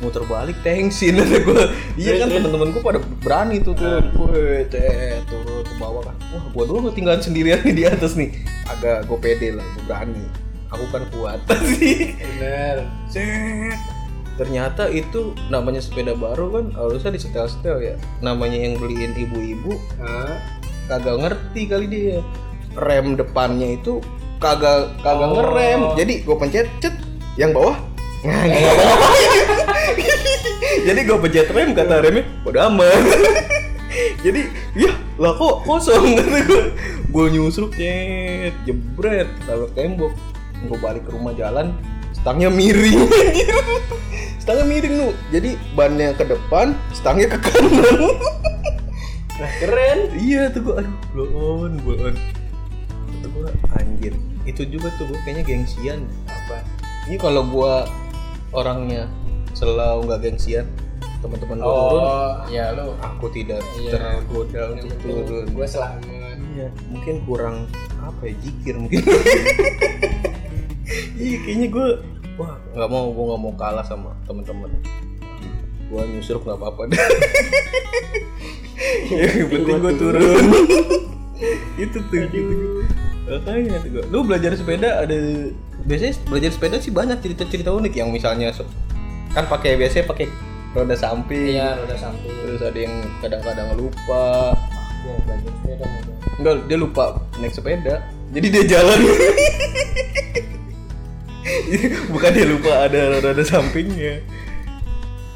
muter balik thanksin ada gue [LAUGHS] iya kan temen-temen gue pada berani tuh turun Weh, teh, turun ke bawah kan wah gue doang ketinggalan sendirian nih di atas nih agak gue pede lah gue berani aku kan kuat [LAUGHS] sih
benar
Set. ternyata itu namanya sepeda baru kan harusnya disetel-setel ya namanya yang beliin ibu-ibu kagak ngerti kali dia rem depannya itu kagak kagak
Oh.
ngerem jadi gue pencet cet yang bawah [LAUGHS] Nah, nggak apa-apa. jadi gue pencet rem kata remnya udah aman [LAUGHS] jadi ya lah kok kosong [LAUGHS] kata gue gue nyusruk cet jebret tabrak tembok gue balik ke rumah jalan stangnya miring [LAUGHS] stangnya miring lu jadi bannya ke depan stangnya ke kanan [LAUGHS]
keren
Iya tuh gue aduh blow on blow on Itu gue anjir Itu juga tuh gue kayaknya gengsian
apa
Ini kalau gue orangnya selalu nggak gengsian Teman-teman gue turun
oh ya lu
Aku tidak
Iya.
tergoda
yang
untuk
penting
turun
gua selamat
Iya mungkin kurang apa ya jikir mungkin [LAUGHS] Iya kayaknya gue Wah nggak mau gue nggak mau kalah sama teman-teman Gue nyusruk nggak apa-apa [LAUGHS] deh Yang penting gue turun [LAUGHS] Itu tuh gitu. Makanya tuh gua. Lu belajar sepeda ada biasanya belajar sepeda sih banyak cerita-cerita unik yang misalnya so- kan pakai biasanya pakai roda samping,
iya roda samping
terus ada yang kadang-kadang lupa,
ya belajar sepeda mau dong.
enggak dia lupa naik sepeda, jadi dia jalan. [LAUGHS] Bukan dia lupa ada roda sampingnya.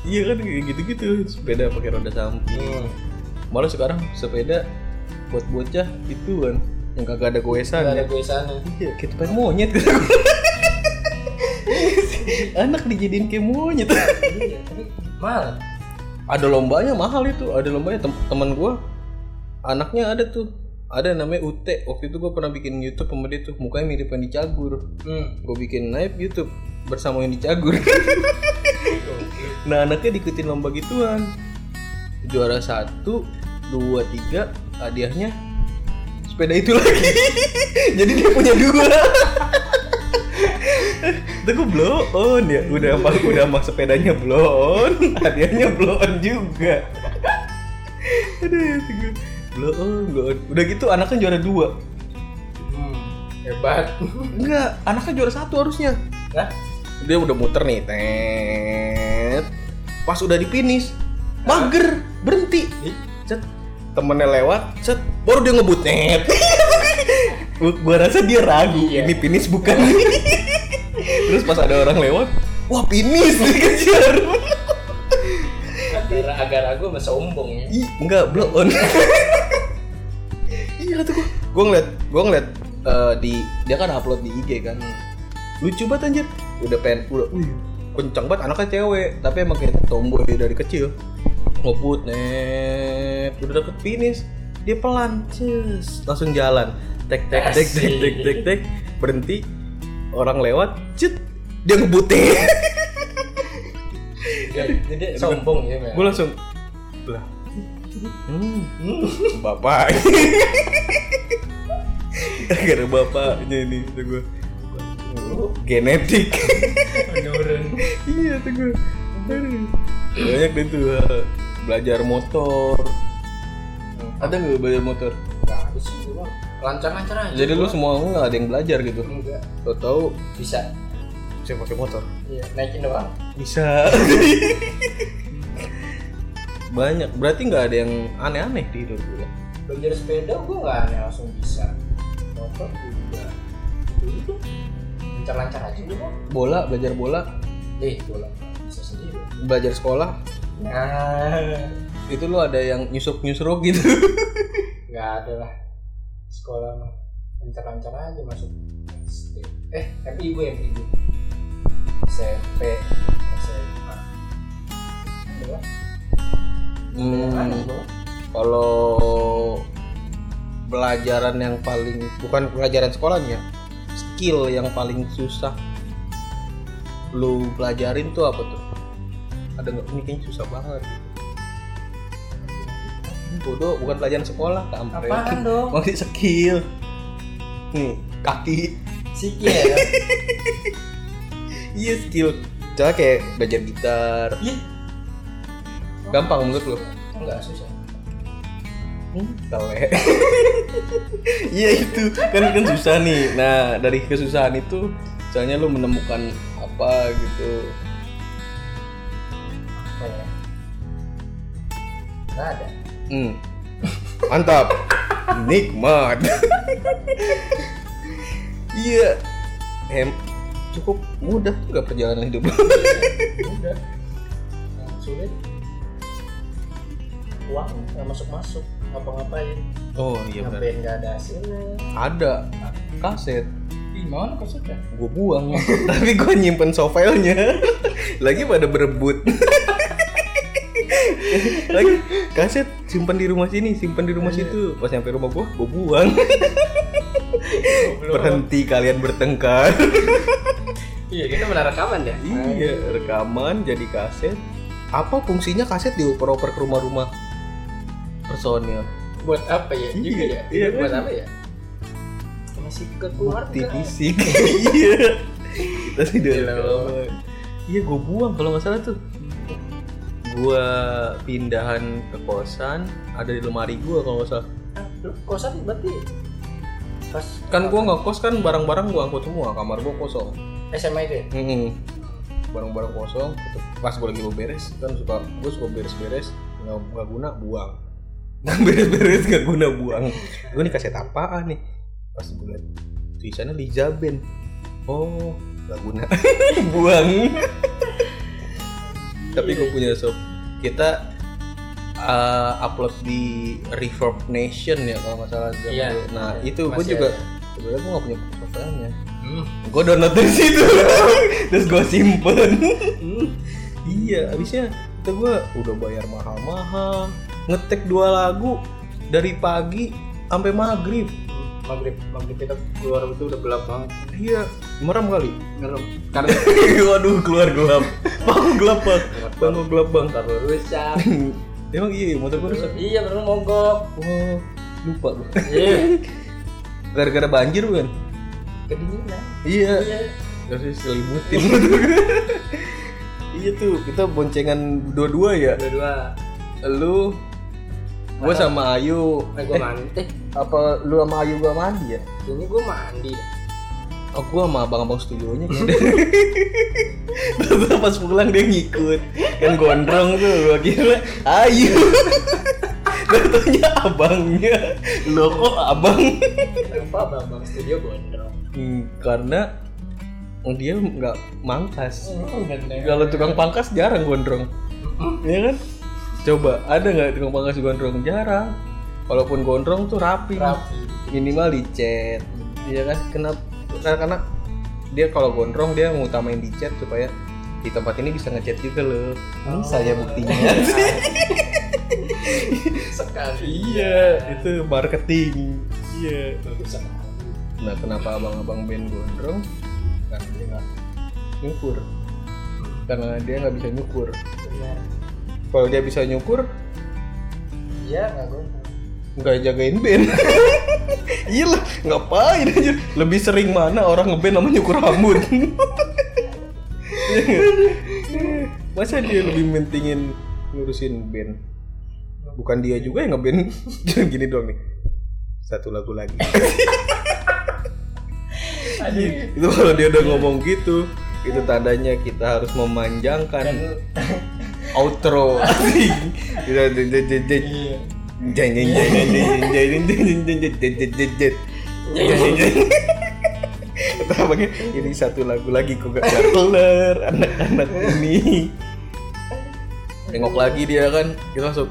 Iya kan kayak gitu-gitu sepeda pakai roda samping.
Hmm.
Malah sekarang sepeda buat bocah itu kan yang kagak ada goesan
Gak
ya.
ada gue sana
Iya, kayak tempat monyet [LAUGHS] kata gua. Anak dijadiin kayak monyet. [LAUGHS]
iya tapi mahal
ada lombanya mahal itu, ada lombanya Tem- teman gua anaknya ada tuh. Ada namanya Ute. Waktu itu gua pernah bikin YouTube sama dia tuh, mukanya mirip Yang Cagur.
hmm
Gua bikin live YouTube bersama Yang [LAUGHS] Cagur. nah, anaknya diikutin lomba gituan. Juara satu, dua, tiga, hadiahnya sepeda itu lagi. [LAUGHS] Jadi dia punya dua. [LAUGHS] Itu gue blow on ya, udah apa udah sama sepedanya blow on, [LAUGHS] hadiahnya blow on juga. Aduh, itu gua. blow on, blow on. Udah gitu anaknya juara dua.
hmm hebat
Enggak, anaknya juara satu harusnya.
Hah?
Dia udah muter nih, tet. Pas udah di finish, mager, berhenti. Cet, temennya lewat, cet, baru dia ngebut net. [LAUGHS] gua, gua rasa dia ragu,
Iya.
ini finish bukan. [LAUGHS] Terus pas ada orang lewat, wah finish [LAUGHS] dikejar.
agak agak ragu sama sombong ya
Ih, enggak, blow on. [LAUGHS] iya tuh gua. Gua ngeliat, gua ngeliat eh, di dia kan upload di IG kan. Lucu banget anjir. Udah pengen udah
Iya.
wih, kencang banget anaknya cewek, tapi emang kayak tomboy dari kecil. Ngebut net, udah deket finish. Dia pelan, cus, langsung jalan. Tek tek tek tek tek tek tek berhenti. [LAUGHS] Orang lewat, cet, dia ngebutin.
gede sombong ya
Gue langsung lah. Hmm. Bapak. [LAUGHS] Gara bapaknya ini tuh gue. Genetik. [LAUGHS]
menurun
iya tuh gue. Aduh. Banyak deh tuh eh, belajar motor. Ada nggak belajar motor?
nggak ada sih gua mah. lancar-lancar aja
Jadi lu semua nggak ada yang belajar gitu?
enggak
Lo tau
bisa
saya pakai motor?
iya naikin doang
Bisa. [LAUGHS] Banyak. Berarti nggak ada yang aneh-aneh di hidup ya? gue.
belajar sepeda gua nggak aneh langsung bisa motor juga itu lancar-lancar aja gua mah.
Bola, belajar bola,
eh bola bisa sendiri
belajar sekolah.
nah
Itu lu ada yang nyusup-nyusruk [LAUGHS] gitu.
nggak ada lah sekolah mah lancar-lancar aja masuk SD eh tapi ibu yang ibu SMP SMA Udah,
Hmm,
aneh gua.
kalau pelajaran yang paling bukan pelajaran sekolahnya, skill yang paling susah lu pelajarin tuh apa tuh? Ada nggak? Ini kayaknya susah banget. Hmm, Bodoh, bukan pelajaran sekolah, kampret. [LAUGHS]
apaan [LAUGHS] dong
Maksudnya skill. Nih, kaki.
sikil ya
Iya, skill. Cara kayak belajar gitar.
Iya.
Gampang menurut lu?
enggak susah
Tele. Hmm, [LAUGHS] Iya itu kan kan susah nih. Nah dari kesusahan itu, misalnya lu menemukan apa gitu.
apa ya nggak ada
Hmm. [LAUGHS] Mantap. Nikmat. [LAUGHS] Iya. Em cukup mudah juga perjalanan hidup.
udah yang sulit uang nggak masuk masuk apa ngapain
[LAUGHS] Oh iya benar.
ngapain nggak ada hasilnya
Ada kaset
gimana maksudnya
gue buang [LAUGHS] tapi gue nyimpen sovelnya [LAUGHS] lagi pada berebut [LAUGHS] lagi kaset simpan di rumah sini simpan di rumah situ pas nyampe rumah gue gue buang berhenti kalian bertengkar
iya kita benar rekaman ya
[LAUGHS] iya rekaman jadi kaset apa fungsinya kaset dioper-oper ke rumah-rumah personil
buat apa ya
Iya,
juga ya
iya
buat
kan?
apa ya masih ke
bukti
keluarga
fisik [LAUGHS] iya kita sih udah
Gila,
rekaman. iya gue buang kalau nggak salah tuh gue pindahan ke kosan ada di lemari gue kalau nggak salah
Ah, lu kosan berarti pas
kan gue nggak kos kan barang-barang gue angkut semua kamar gue kosong
SMA itu ya
Mm-mm. barang-barang kosong pas gue lagi mau beres kan suka gue suka beres-beres nggak nggak guna buang [LAUGHS] beres-beres nggak guna buang gue nih kaset apaan nih pas gue liat tulisannya Liza Band oh nggak guna [LAUGHS] buang tapi gue punya sob kita uh, upload di Reverb Nation ya kalau nggak salah zaman
Iya.
dulu. nah itu gue
Masih
juga
ada.
sebenarnya gue nggak punya softwarenya
hmm.
gue download dari situ [LAUGHS] terus gue simpen
Hmm.
iya abisnya itu gue udah bayar mahal-mahal ngetek dua lagu dari pagi sampai maghrib
maghrib maghrib kita keluar itu udah gelap banget
iya merem kali
ngerem karena
[LAUGHS] waduh keluar gelap bangun gelap bang bangun gelap bang
motor lu rusak
emang iya motor gue rusak
iya bener lu mogok
wah lupa gue [LAUGHS]
iya
gara-gara banjir bukan
kedinginan
iya
iya
terus selimutin [LAUGHS] iya tuh kita boncengan dua-dua ya
dua-dua
lu gue sama Ayu
eh gua mandi eh
apa lu sama Ayu gua mandi ya
ini gua mandi
oh gua sama abang-abang studionya kan. terus pas pulang dia ngikut kan gondrong tuh gua kira Ayu Tentunya abangnya Lo kok abang
apa bambang studio gondrong
Hmm, Karena dia nggak mangkas
enggak
Kalau tukang pangkas jarang gondrong Iya kan? Coba ada nggak tukang pangkas gondrong? Jarang Walaupun gondrong tuh rapi
rapi
minimal di chat iya kan kenapa karena, karena dia kalau gondrong dia ngutamain di chat supaya di tempat ini bisa ngechat juga loh ini saya buktinya
sekali Ya.
iya itu marketing iya
sekali
nah kenapa abang-abang band gondrong karena dia nggak nyukur karena dia nggak bisa nyukur
benar
kalau dia bisa nyukur
iya nggak gonta
nggak jagain band iya lah ngapain aja lebih sering mana orang ngeband sama nyukur rambut Iya nggak? masa dia lebih mentingin ngurusin band bukan dia juga yang ngeband jangan gini doang nih satu lagu lagi
Iya,
itu kalau dia udah ngomong gitu itu tandanya kita harus
iya.
memanjangkan outro Kita-
iya
Iya,
Iya,
atau bagi ini satu lagu lagi kok gak kelar anak-anak ini tengok lagi dia kan kita langsung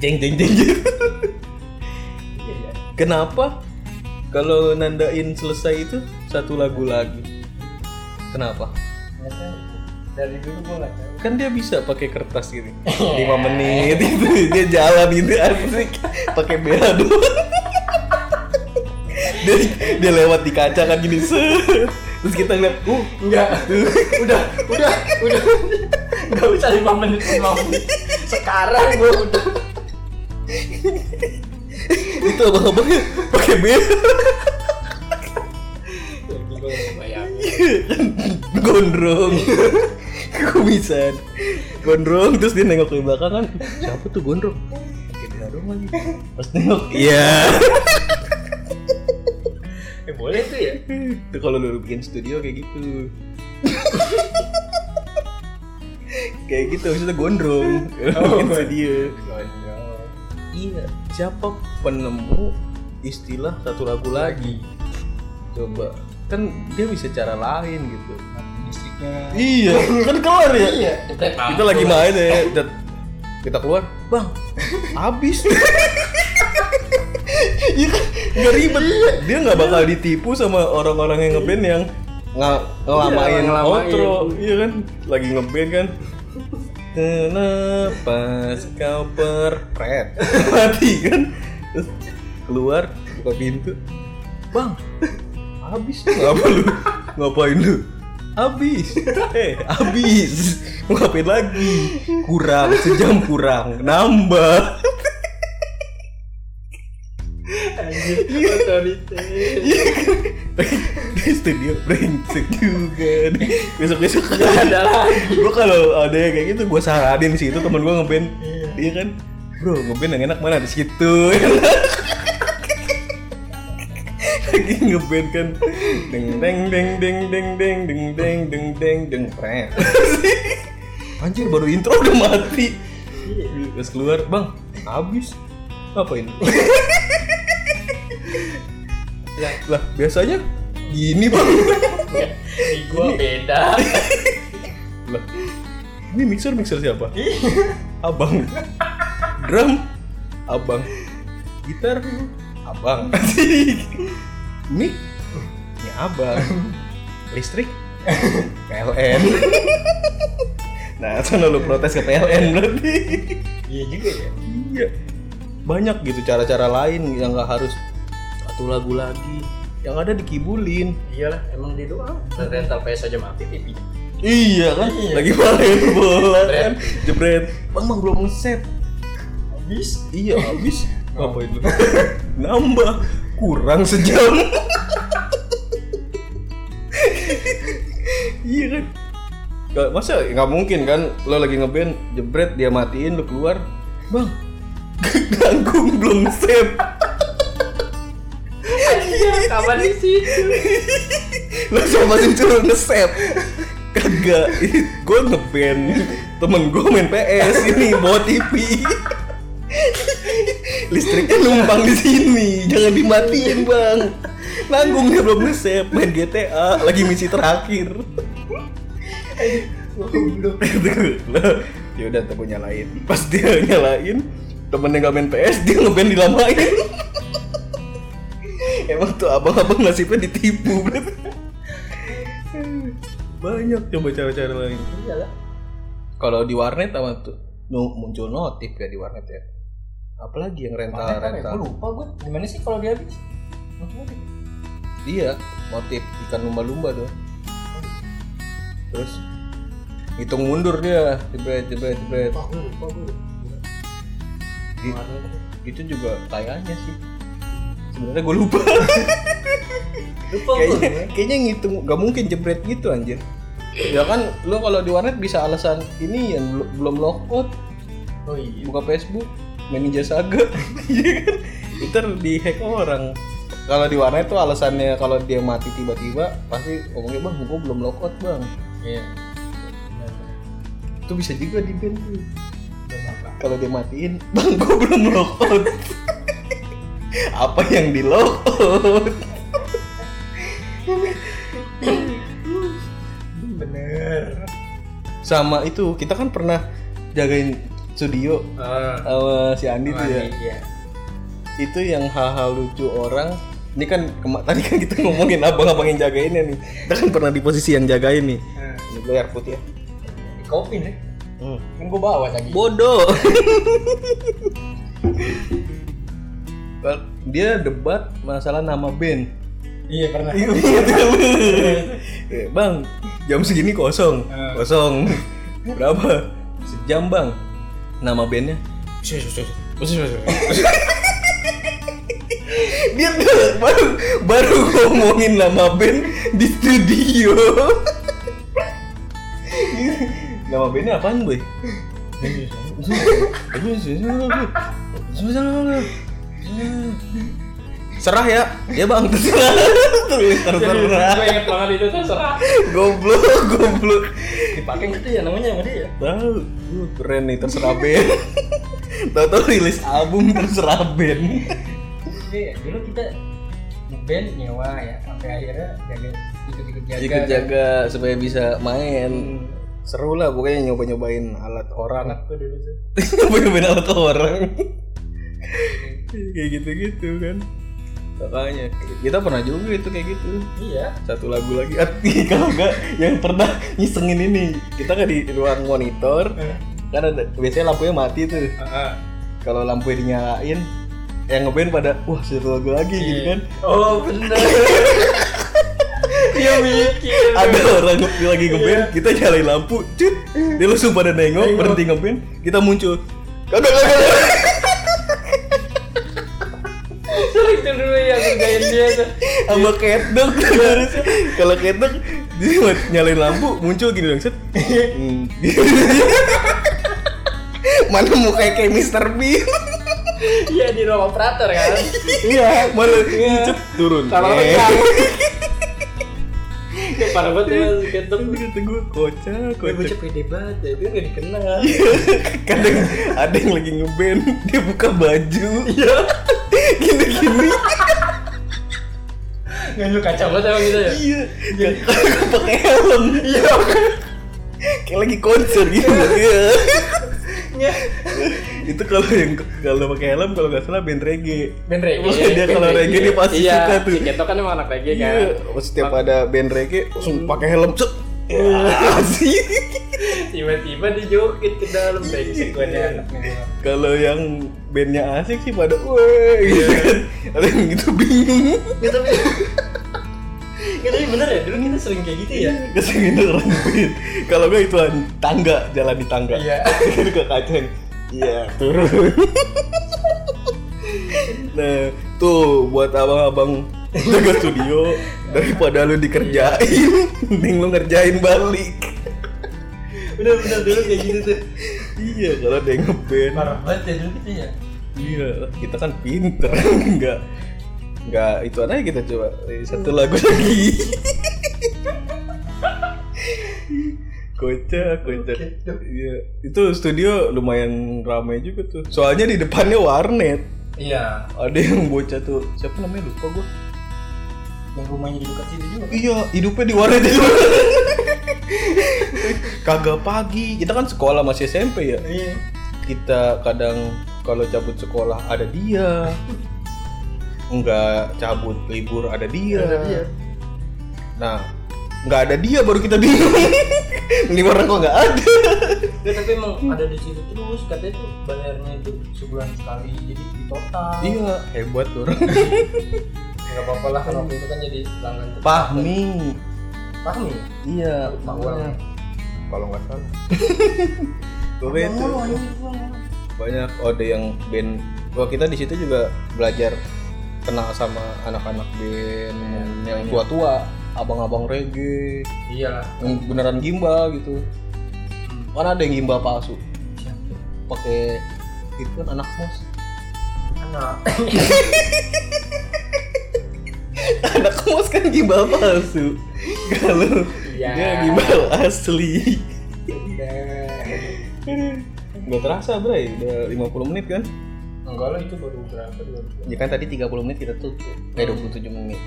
jeng jeng jeng jeng
iya
kenapa kalau nandain selesai itu satu lagu lagi kenapa
nggak tahu dari dulu gue nggak tahu
kan dia bisa pakai kertas
[LAUGHS]
gini lima menit gitu dia jalan gitu asik pakai bela doang [LAUGHS] dia, dia lewat di kaca kan gini set terus kita ngeliat uh
enggak udah udah udah nggak usah lima menit lima menit sekarang gue udah
itu abang-abangnya pakai bela
gue bayangin
gondrong kumisan gondrong terus dia nengok ke belakang kan siapa tuh gondrong pakai bela doang lagi pas nengok iya
eh boleh tuh ya
itu [LAUGHS] kalau lu bikin studio kayak
[LAUGHS]
gitu kayak gitu maksudnya gondrong
Oh.
bikin studio
Gonjol.
iya siapa penemu istilah satu lagu lagi coba kan dia bisa cara lain gitu
Matiin listriknya
iya [LAUGHS] kan keluar ya
iya jepret
kita lagi main ya dat- kita keluar bang
[LAUGHS]
habis Iya kan, nggak ribet dia nggak bakal ditipu sama orang-orang yang ngeband yang nggak ngelamain Oh,
Iya, ngelamain.
outro iya kan lagi ngeband kan kenapa kau perpret [LAUGHS] mati kan Terus keluar buka pintu bang habis tuh apa lu ngapain lu habis [LAUGHS] eh habis Mau ngapain lagi kurang sejam kurang nambah
anjir otoriter
di studio brengsek juga besok besok
Nggak ada lagi
gue kalau ada yang kayak gitu gue saranin sih itu temen gue ngeband iya kan bro ngeband yang enak mana di situ lagi ngeband kan deng deng deng deng deng deng deng deng deng deng deng Pret. anjir baru intro udah mati terus keluar bang habis ngapain
Lah.
lah biasanya gini bang
di gue beda
lah ini mixer mixer siapa abang drum abang gitar abang [LAUGHS] mic ya abang listrik PLN nah sana lu protes ke PLN berarti
iya juga ya
iya banyak gitu cara-cara lain yang nggak harus satu lagu lagi yang ada dikibulin
iyalah emang di doang rental PS aja mati TV
Iya kan,
Iya.
lagi main bola
Jebret.
kan, jebret. Bang bang belum set.
habis
Iya habis. Ngapain lu? [LAUGHS] Nambah kurang sejam. [LAUGHS] iya kan. Gak, masa nggak mungkin kan lo lagi ngeband jebret dia matiin lu keluar bang [LAUGHS] ganggung belum set
Iya, kapan di situ?
langsung masih suruh nge-save kagak gue ngeband temen gue main PS ini bawa TV listriknya numpang di sini jangan dimatiin bang nanggung dia belum nge-save main GTA lagi misi terakhir [LAUGHS] ya udah temen nyalain pas dia [LAUGHS] nyalain temen yang gak main PS dia ngeband dilamain [LAUGHS] emang tuh abang-abang nasibnya ditipu berarti [LAUGHS] banyak coba cara-cara lain
Iyalah.
kalau di warnet apa tuh nu- muncul notif ya di warnet ya apalagi yang rental
Makanya kan ya,
rental
gue lupa gue gimana sih kalau dia habis? Maksudnya
iya
dia-
motif ikan lumba-lumba tuh terus hitung mundur dia jebret jebret jebret
Wah, gue lupa gue. Gila.
Di-
Kemarin tuh.
itu Gitu juga kayaknya sih sebenarnya gue lupa
lupa gue
[LAUGHS] kayaknya kayaknya ngitung gak mungkin jebret gitu anjir ya kan lo kalau di warnet bisa alasan ini yang bel- belum lockout
Oh iya.
buka Facebook main Ninja Saga [LAUGHS] Iya kan? Ntar di hack orang kalau di warnet tuh alasannya kalau dia mati tiba-tiba pasti ngomongnya bang gua belum lockout bang
Iya.
itu bisa juga di band tuh
Udah nggak
kalau dia matiin [LAUGHS] bang gua belum lockout [LAUGHS] apa yang di lockout Hmm,
Bener.
sama itu kita kan pernah jagain studio
Ah,
sama si Andi tuh ya
mandi, Iya.
itu yang hal-hal lucu orang ini kan kema- [LAUGHS] tadi kan kita ngomongin abang-abang yang jagainnya nih kita kan pernah di posisi yang jagain nih
Ah,
ini gue air putih ya
Di kopi nih. Kan gue bawa tadi.
bodoh [LAUGHS] dia debat masalah nama band
Iya pernah.
Eh, bang jam segini kosong
Eh.
kosong berapa sejam bang nama bandnya
[LAUGHS] Sus, sus, sus. Sus, sus, sus.
dia tuh baru baru ngomongin nama band di studio nama bandnya apaan boy serah ya ya bang terserah Tulis terserah [LAUGHS]
Gue inget banget itu terserah.
goblok goblok
Dipakai gitu ya namanya sama dia.
tahu uh, keren nih terserah band tahu-tahu rilis album terserah band
Iya, dulu kita ngeband nyewa ya sampai akhirnya jaga ikut-ikut jaga.
ikut jaga supaya bisa main
Hmm.
seru lah pokoknya nyoba nyobain alat [LAUGHS] orang
Banget tuh dulu tuh.
nyoba nyobain alat orang kayak gitu gitu kan makanya kita pernah juga itu kayak gitu
Iya.
satu lagu lagi [LAUGHS] Ah, kalau enggak yang pernah ngisengin ini kita kan di ruang monitor kan ada biasanya lampunya mati tuh
Iya,
kalau lampunya dinyalain yang ngeband pada wah satu lagu lagi gitu kan
Oh
[LAUGHS]
bener.
Iya,
Dia mikir.
ada orang nge- lagi ngeband kita nyalain lampu cut dia langsung pada Iya. nengok berhenti ngeband kita muncul kagak kagak kagak.
Sering tuh dulu yang ngerjain dia tuh.
sama [LAUGHS] kedok Iya. kalau kedok dia buat nyalain lampu muncul gini langsung Hmm. [LAUGHS] mana mukanya kayak Mr. Bean
Iya di ruang operator kan.
iya mana cet, turun
Kalau
Eh.
pegang. Ya parah banget ya ketok.
Tapi kata gue kocak
Gue
kocak
bocah pede banget ya, dia gak dikenal
kadang ada yang lagi ngeband dia buka baju iya gini gini
Gak lu kacamata sama kita ya?
iya Kagak pakai helm iya kayak lagi konser gitu iya
Iya
itu kalau yang kalau pakai helm kalau nggak salah band reggae
Band reggae
Maksudnya dia
band
kalau reggae dia pasti
Iya,
suka tuh.
si ketok kan emang anak reggae kan Hmm.
iya setiap ada band reggae langsung pakai helm cek Ya,
Iya.
[LAUGHS] sih.
Tiba-tiba dia joget ke dalam Brengsek gue nih anaknya
Kalau yang bandnya asik sih pada weh
Iya.
gitu kan. Ada yang gitu bingung.
Ya tapi Ya tapi bener ya, dulu kita sering kayak gitu ya
Kesengin orang ngeband. Kalau gue itu tangga, jalan di tangga. [LAUGHS]
Iya.
Itu ke kaca yang, Iya, turun. nah, tuh buat abang-abang jaga studio daripada lu dikerjain, mending lu ngerjain balik.
Bener-bener dulu kayak gitu tuh
Iya, kalau ada yang ngeband.
Parah banget ya dulu kita ya
Iya, kita kan pinter, [LAUGHS] enggak enggak itu aja kita coba Eh, satu lagu lagi. kocak, kocak. Iya, itu studio lumayan ramai juga tuh. Soalnya di depannya warnet.
Iya
Ada yang bocah tuh, siapa namanya lupa gua.
Dan rumahnya di dekat situ juga
Iya, hidupnya di warnet itu. [LAUGHS] Kagak pagi. Kita kan sekolah masih SMP ya.
Iya
kita kadang kalau cabut sekolah ada dia nggak cabut libur ada dia,
Ada dia.
nah nggak ada dia baru kita bingung [LAUGHS] ini orang kok nggak ada
Nggak, tapi emang ada di situ terus katanya tuh bayarnya itu sebulan sekali jadi di total
iya hebat tuh orang
nggak apa-apa lah kan waktu itu kan jadi pelanggan tetap.
Pahmi
Pahmi ya?
iya
Lupa gua.
kalau nggak
[LAUGHS]
salah Gua
Abang
itu
mulu, anjing, gua mulu.
banyak ode yang band gua kita di situ juga belajar kenal sama anak-anak band yang tua-tua abang-abang reggae
iyalah
yang beneran gimbal gitu
Hmm.
mana ada yang gimbal palsu pakai itu kan anak mos
anak
[LAUGHS] anak mos kan gimbal palsu Ya. kalau
Iya.
dia gimbal asli
Bener.
nggak terasa bray udah 50 menit kan
enggak lah itu baru berapa dua ribu
ya kan tadi 30 menit kita tutup Eh, kayak 27 menit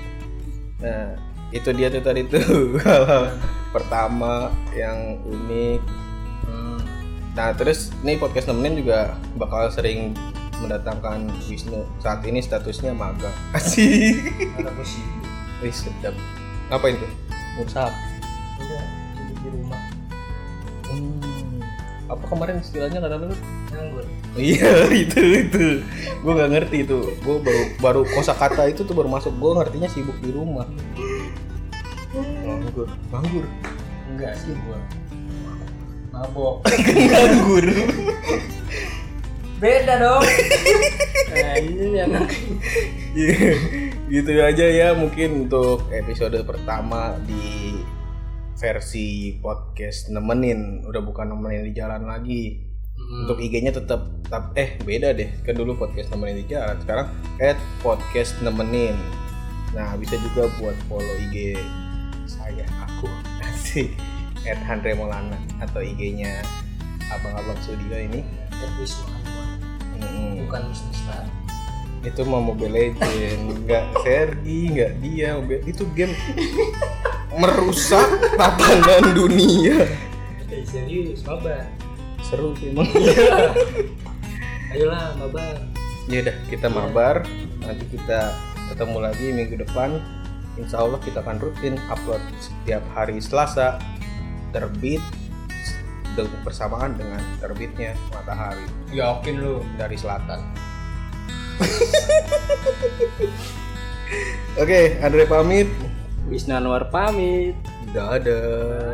Hmm. nah itu dia tuh tadi tuh [LAUGHS] hal-hal pertama yang unik nah terus nih podcast nemenin juga bakal sering mendatangkan Wisnu saat ini statusnya magang [LAUGHS] asik
Kenapa sih?
Wih sedap ngapain tuh? Musab
Udah, duduk di rumah.
Hmm. apa kemarin istilahnya kata lu?
Nganggur.
Iya [LAUGHS] itu itu, gue nggak ngerti itu, gue baru baru kosakata itu tuh baru masuk, gue ngertinya sibuk di rumah. Nganggur, nganggur,
Enggak sih gua. Mabok.
nganggur.
Beda dong. nah, ini yang
Iya, gitu aja ya mungkin untuk episode pertama di versi podcast nemenin, udah bukan nemenin di jalan lagi. Hmm. Untuk IG-nya tetap tetap eh beda deh. Kan dulu podcast nemenin di jalan, sekarang at podcast nemenin. Nah, bisa juga buat follow IG saya aku [LAUGHS] asik at Andre Maulana atau IG-nya abang-abang studio ini.
Etnis
Mm-mm.
bukan bisnis lah.
Itu mau Mobile Legend, nggak Sergi, nggak dia. Mobile- Itu game merusak tatanan dunia.
Eh, serius, mabar.
Seru sih emang.
Ayolah, mabar.
ya udah kita mabar nanti kita ketemu lagi minggu depan insya Allah kita akan rutin upload setiap hari Selasa terbit dengan bersamaan dengan terbitnya matahari
Yakin lu.
dari selatan [LAUGHS] oke Andre pamit
Wisnu Anwar pamit.
dadah